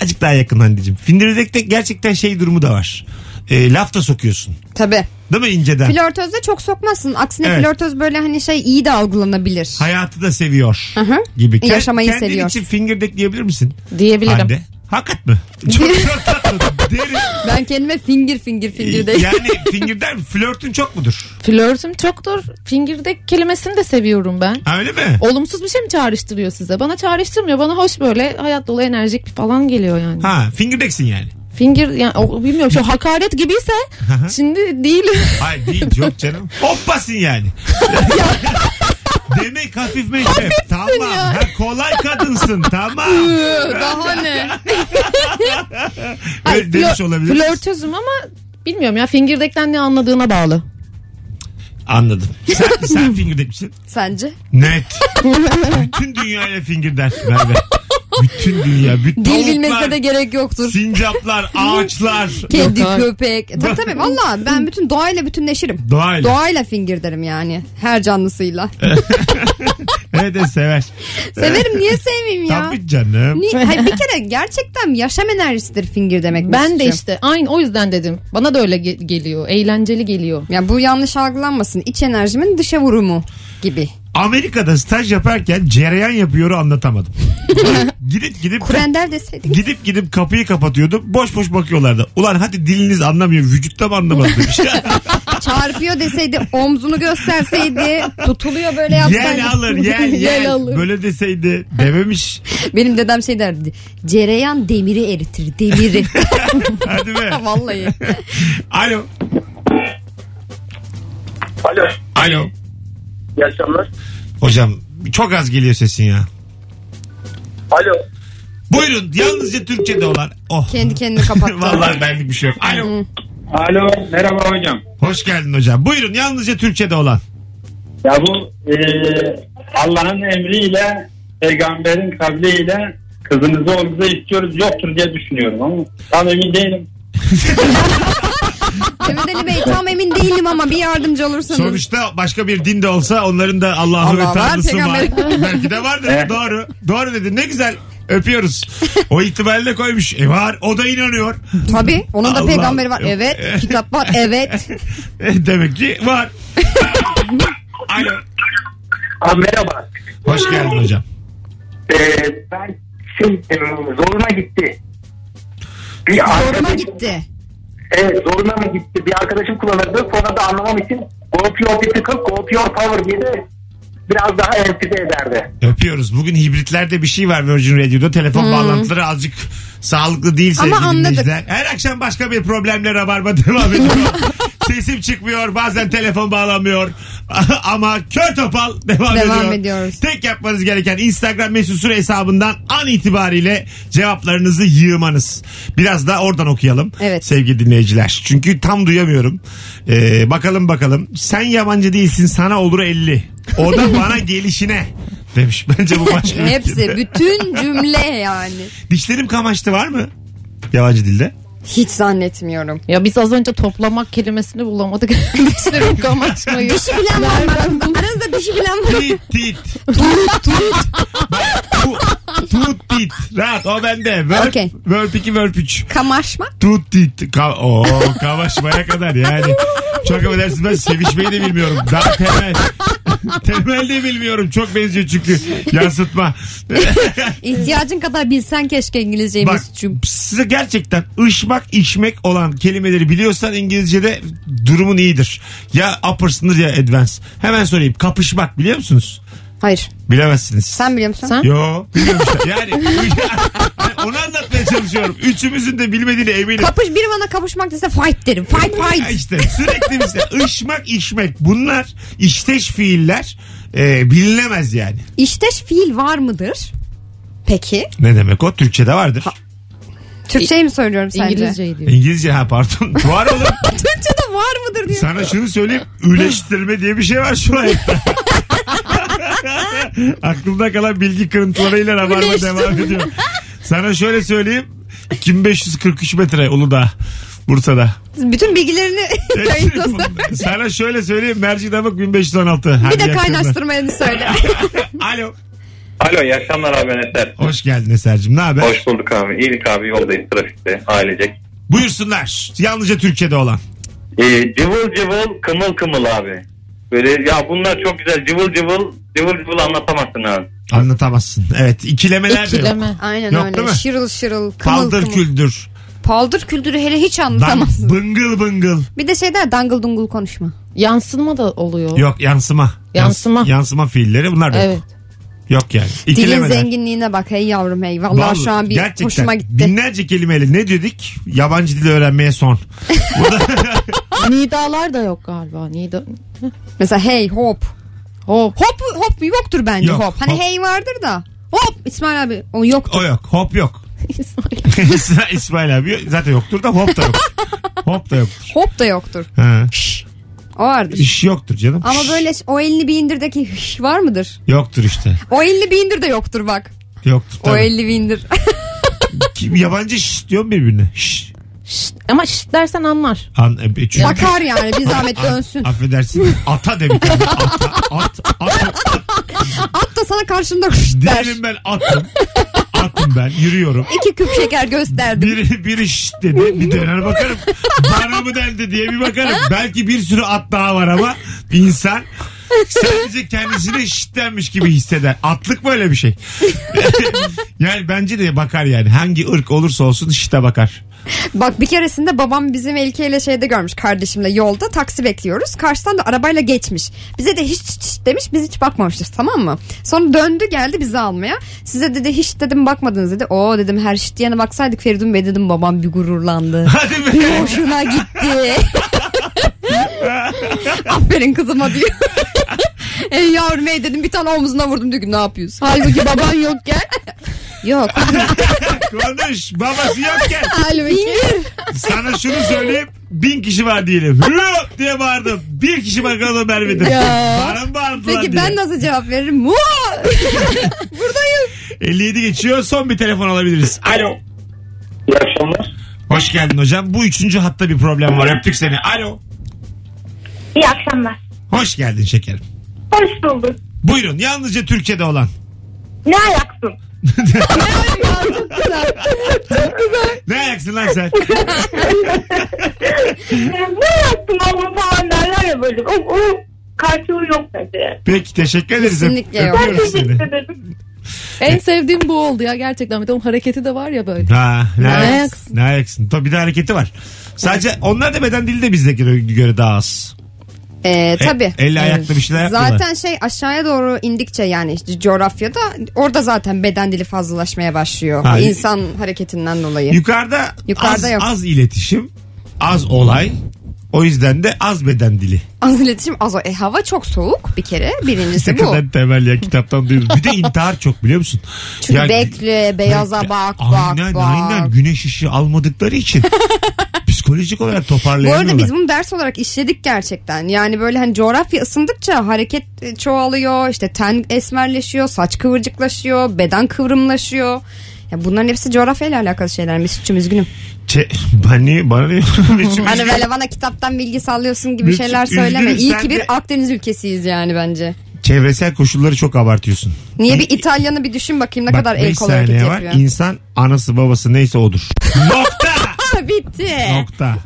S2: acık daha yakın Hande'cim. Fingirdek'te gerçekten şey durumu da var. E, laf da sokuyorsun.
S3: Tabii.
S2: Değil mi inceden?
S3: Flörtözde çok sokmazsın. Aksine
S2: Evet.
S3: flörtöz böyle hani şey iyi de algılanabilir.
S2: Hayatı da seviyor
S3: Hı hı.
S2: gibi. Kend-
S3: Yaşamayı
S2: kendin
S3: seviyor.
S2: için fingirdek diyebilir misin?
S4: Diyebilirim.
S2: Hande. Hakikat mi? Çok, çok tatlı. Derin.
S3: Ben kendime fingir fingir fingir de.
S2: Yani fingirden flörtün çok mudur?
S4: Flörtüm çoktur. Fingirdek kelimesini de seviyorum ben.
S2: Ha, öyle mi?
S4: Olumsuz bir şey mi çağrıştırıyor size? Bana çağrıştırmıyor. Bana hoş böyle hayat dolu enerjik falan geliyor yani.
S2: Ha fingirdeksin yani.
S4: Fingir yani o, bilmiyorum şu hakaret gibiyse şimdi değil.
S2: Hayır değil yok canım. Hoppasın yani. Demek hafif meşrep. Tamam. Ha, kolay kadınsın. Tamam.
S3: Daha ne?
S2: Öyle demiş olabilir.
S4: Flörtözüm ama bilmiyorum ya fingirdekten ne anladığına bağlı.
S2: Anladım. Sen, sen fingirdek misin?
S3: Sence?
S2: Net. Bütün dünyaya fingirder Merve. Bütün dünya. Bütün
S3: Dil bilmese
S2: tavuklar,
S3: de gerek yoktur.
S2: Sincaplar, ağaçlar.
S3: Kedi,
S4: Yok, hayır.
S3: köpek. E, Tabii tabii valla ben bütün doğayla bütünleşirim.
S2: Doğayla. E,
S3: Doğayla fingir derim yani. Her canlısıyla.
S2: Evet de sever.
S3: Severim niye sevmeyeyim ya?
S2: e. Tabii canım.
S3: Niye? Hayır, bir kere gerçekten yaşam enerjisidir fingir demek.
S4: Ben de
S3: Mesut'cum.
S4: işte aynı o yüzden dedim. Bana da öyle ge- geliyor. Eğlenceli geliyor.
S3: Ya bu yanlış algılanmasın. İç enerjimin dışa vurumu gibi.
S2: Amerika'da staj yaparken cereyan yapıyor anlatamadım. gidip gidip
S3: Kurender deseydin.
S2: gidip gidip kapıyı kapatıyordum. Boş boş bakıyorlardı. Ulan hadi diliniz anlamıyor. Vücutta mı anlamadı demiş.
S3: Çarpıyor deseydi. Omzunu gösterseydi. Tutuluyor böyle yapsaydı.
S2: yel alır yel yel.
S4: Yel alır.
S2: Böyle deseydi dememiş.
S3: Benim dedem şey derdi. Cereyan demiri eritir. Demiri.
S2: Hadi be.
S3: Vallahi.
S2: Alo.
S5: Alo.
S2: Alo.
S5: İyi akşamlar.
S2: Hocam çok az geliyor sesin ya.
S5: Alo.
S2: Buyurun yalnızca Türkçe'de olan. Oh.
S3: Kendi kendini kapattı.
S2: Vallahi benlik bir şey yok. Alo.
S5: Alo. Merhaba hocam.
S2: Hoş geldin hocam. Buyurun yalnızca Türkçe'de olan.
S5: Ya bu e, Allah'ın emriyle peygamberin kavliyle kızınızı oğlunuza istiyoruz yoktur diye düşünüyorum ama tam emin değilim.
S3: Mehmet Ali Bey tam emin değilim ama bir yardımcı olursanız.
S2: Sonuçta başka bir din de olsa onların da Allah'ı
S3: Allah
S2: ve
S3: var,
S2: Tanrısı var.
S3: peygamber.
S2: Belki de vardır.
S5: Evet.
S2: Doğru. Doğru dedin. Ne güzel. Öpüyoruz. O ihtimalle koymuş. E var. O da inanıyor.
S3: Tabii. Onun da
S2: Allah.
S3: peygamberi var. Evet. Kitap var. Evet.
S2: E, Demek ki var. Alo.
S5: Aa, merhaba.
S2: Hoş geldin hocam.
S5: Ee, ben şey, e, zoruma gitti. Bir
S3: Zoruma
S5: arkadaşım-
S3: gitti.
S5: Evet zoruna mı gitti? Bir arkadaşım kullanırdı. Sonra da anlamam için GoPro bir tıkıp GoPro Power diye de biraz daha emtize ederdi.
S2: Öpüyoruz. Bugün hibritlerde bir şey var Virgin Radio'da. Telefon bağlantıları azıcık sağlıklı değil sevgili
S3: Hmm. Ama anladık.
S2: dinleyiciler. Her akşam başka bir problemle rabarba devam ediyor. Sesim çıkmıyor. Bazen telefon bağlanmıyor. Ama kör topal devam,
S3: Devam
S2: ediyor.
S3: ediyoruz.
S2: Tek yapmanız gereken Instagram mesut süre hesabından an itibariyle cevaplarınızı yığmanız. Biraz da oradan okuyalım.
S3: Evet.
S2: Sevgili dinleyiciler. Çünkü tam duyamıyorum. Ee, bakalım bakalım. Sen yabancı değilsin sana olur 50. O da bana gelişine demiş. Bence bu başka bir
S3: Hepsi.
S2: kelime.
S3: Bütün cümle yani.
S2: Dişlerim kamaştı var mı? Yabancı dilde.
S3: Hiç zannetmiyorum.
S4: Ya biz az önce toplamak kelimesini bulamadık. Dişlerim kamaşmayı.
S3: Dişi şey bilen var mı? aranızda? Aranızda şey dişi bilen var mı?
S2: Tit tit. Tut tut. Bak, bu- Tut tit. Rahat O bende. Verp,
S3: Okey.
S2: verp 2, verp 3.
S3: Kamaşmak.
S2: Tutti. Ka Oo, kavaşmaya kadar yani. Çok affedersiniz ben sevişmeyi de bilmiyorum. Daha temel. temel de bilmiyorum. Çok benziyor çünkü. Yansıtma.
S3: İhtiyacın kadar bilsen keşke İngilizceyi
S2: Bak
S3: Mesut'cum.
S2: size gerçekten ışmak içmek olan kelimeleri biliyorsan İngilizce'de durumun iyidir. Ya upper sınır ya advance. Hemen sorayım kapışmak biliyor musunuz?
S3: Hayır.
S2: Bilemezsiniz.
S3: Sen biliyor musun?
S4: Sen-
S2: Yo biliyorum işte. Yani onu anlatmaya çalışıyorum. Üçümüzün de bilmediğine eminim.
S3: Kapış biri bana kapışmak dese fight derim. Fight
S2: Ya
S3: fight.
S2: İşte sürekli bize ışmak içmek bunlar işteş fiiller e, bilinemez yani.
S3: İşteş fiil var mıdır? Peki.
S2: Ne demek o? Türkçe'de vardır.
S3: Türkçeyi mi söylüyorum sence?
S4: İngilizceyi diyor.
S2: İngilizce ha pardon. Var oğlum.
S3: Türkçe'de var mıdır diyor.
S2: Sana şunu söyleyeyim. Üleştirme diye bir şey var şu hayatta. Aklımda kalan bilgi kırıntılarıyla rabarba
S3: Üleştirme.
S2: devam ediyor. Sana şöyle söyleyeyim. 2543 metre Uludağ. Bursa'da.
S3: Bütün bilgilerini yayınlasın.
S2: Sana şöyle söyleyeyim. Mercidamık 1516. Hadi
S3: Bir de
S2: yakında.
S3: kaynaştırmayanı söyle.
S2: Alo.
S10: Alo iyi akşamlar abi ben Eser.
S2: Hoş geldin Eser'cim. Ne haber?
S10: Hoş bulduk abi. İyilik abi yoldayız trafikte ailecek.
S2: Buyursunlar. Yalnızca Türkiye'de olan.
S10: Ee, cıvıl cıvıl kımıl kımıl abi. Böyle ya bunlar çok güzel cıvıl cıvıl cıvıl cıvıl anlatamazsın abi.
S2: Anlatamazsın. Evet. ikilemeler de yok.
S4: İkileme.
S3: Aynen
S2: Yok değil
S3: öyle.
S2: mi?
S3: Şırıl şırıl. Kımıl
S2: Paldır
S3: kımıl.
S2: küldür.
S3: Paldır küldürü hele hiç
S2: Dan-
S3: anlatamazsın.
S2: Bıngıl bıngıl.
S3: Bir de şey der dangıl dungul konuşma.
S4: Yansınma da oluyor.
S2: Yok yansıma.
S4: Yansıma.
S2: Yans- yansıma fiilleri bunlar da
S4: Evet.
S2: yok. Yok yani.
S3: Dilin
S2: İkilemeler.
S3: zenginliğine bak hey yavrum hey. Vallahi,
S2: Vallahi
S3: şu an bir
S2: gerçekten
S3: hoşuma gitti.
S2: Binlerce kelimeyle ne dedik? Yabancı dil öğrenmeye son.
S4: Nidalar da yok galiba. Nida.
S3: Mesela hey hop.
S4: Hop.
S3: Hop hop yoktur bence
S2: Yok,
S3: hop. Hani
S2: hop.
S3: hey vardır da. Hop İsmail abi o yoktur.
S2: O yok. Hop yok. İsmail- İsmail abi zaten yoktur da hop da yok. hop da yoktur.
S3: Hop da yoktur.
S2: Ha.
S3: O vardır.
S2: İş yoktur canım.
S3: Ama
S2: Şş,
S3: böyle o elini bir indirdeki hış var mıdır?
S2: Yoktur işte.
S3: O elini bir indir de yoktur bak.
S2: Yoktur
S3: O
S2: tabii.
S3: elini bir indir.
S2: Kim- Yabancı şş diyor mu birbirine? Şş.
S4: Şşt. Ama şşt dersen anlar.
S2: An, e, çünkü-
S3: Bakar yani bir zahmet dönsün.
S2: Affedersin. Ata de bir tane. Ata. At. At.
S3: At da sana karşında hış der.
S2: Diyelim ben attım. Attım ben. Yürüyorum.
S3: İki küp şeker gösterdim.
S2: Biri, biri şşt dedi. Bir döner bakarım. Bana mı dendi diye bir bakarım. Belki bir sürü at daha var ama insan sadece kendisini şşt denmiş gibi hisseder. Atlık mı öyle bir şey? yani bence de bakar yani. Hangi ırk olursa olsun şşte bakar.
S3: Bak bir keresinde babam bizim Elke ile şeyde görmüş kardeşimle yolda taksi bekliyoruz. Karşıdan da arabayla geçmiş. Bize de hiç, hiç, hiç demiş biz hiç bakmamışız tamam mı? Sonra döndü geldi bizi almaya. Size dedi hiç dedim bakmadınız dedi. O dedim her şit yana baksaydık Feridun Bey dedim babam bir gururlandı.
S2: Hadi be.
S3: Bir hoşuna gitti. Aferin kızıma diyor. Ey yavrum ey dedim bir tane omzuna vurdum diyor ki ne yapıyorsun?
S4: Halbuki baban yokken.
S3: Yok.
S2: Konuş. Babası yokken.
S4: Halbuki.
S2: Sana şunu söyleyeyim. Bin kişi var diyelim. Hırp diye bağırdım. Bir kişi bakalım Merve'dir.
S3: Ya.
S2: Bana mı bağırdılar
S3: Peki
S2: diye.
S3: ben nasıl cevap veririm? Mu!
S2: 57 geçiyor. Son bir telefon alabiliriz. Alo.
S8: İyi akşamlar.
S2: Hoş geldin hocam. Bu üçüncü hatta bir problem var. Öptük seni. Alo.
S6: İyi akşamlar.
S2: Hoş geldin şekerim.
S6: Hoş bulduk.
S2: Buyurun. Yalnızca Türkiye'de olan.
S6: Ne ayaksın?
S2: Ne ayaksın lan sen?
S6: ne ayaksın oğlum falan derler ya böyle. O, o karşılığı yok bence.
S2: Peki teşekkür ederiz.
S3: Kesinlikle yok.
S6: Ben
S2: Öpüyoruz
S6: teşekkür
S2: seni.
S6: ederim.
S4: En sevdiğim bu oldu ya gerçekten. Bir de onun hareketi de var ya böyle.
S2: Ha, ne,
S4: Ne
S2: ayaksın?
S4: ayaksın?
S2: Ne ayaksın? Tabii bir de hareketi var. Sadece onlar da beden dili de bizdekine göre daha az.
S3: Ee,
S2: E-
S3: tabii.
S2: Elle ayakla bir şeyler yapmıyorlar.
S3: Zaten şey aşağıya doğru indikçe yani işte coğrafyada orada zaten beden dili fazlalaşmaya başlıyor.
S2: Ha,
S3: İnsan hareketinden dolayı.
S2: Yukarıda,
S3: Yukarıda
S2: az,
S3: yok.
S2: az iletişim, az olay. O yüzden de az beden dili.
S3: Az iletişim az o. E, hava çok soğuk bir kere
S2: Ne
S3: birincisi bu.
S2: kadar temel ya kitaptan duydum. Bir de intihar çok biliyor musun?
S3: Çünkü
S2: Ya-
S3: bekle beyaza bak bak
S2: aynen,
S3: bak.
S2: Aynen güneş ışığı almadıkları için psikolojik olarak
S3: Bu
S2: toparlayamıyorlar.
S3: arada biz bunu ders olarak işledik gerçekten. Yani böyle hani coğrafya ısındıkça hareket e, çoğalıyor. işte ten esmerleşiyor, saç kıvırcıklaşıyor, beden kıvrımlaşıyor. Ya bunların hepsi coğrafyayla alakalı şeyler. Mesut'cum üzgünüm.
S2: Çe- bana, bana ne?
S3: Hani böyle bana kitaptan bilgi sallıyorsun gibi
S2: Mesut,
S3: şeyler söyleme.
S2: üzgünüz
S3: İyi
S2: sen
S3: ki
S2: de-
S3: bir Akdeniz ülkesiyiz yani bence.
S2: Çevresel koşulları çok abartıyorsun.
S3: Niye bir İtalyanı bir düşün bakayım ne
S2: Bak,
S3: kadar el
S2: beş
S3: kol hareketi
S2: saniye var.
S3: yapıyor.
S2: İnsan anası babası neyse odur. Nokta.
S3: Bitti.
S2: Nokta.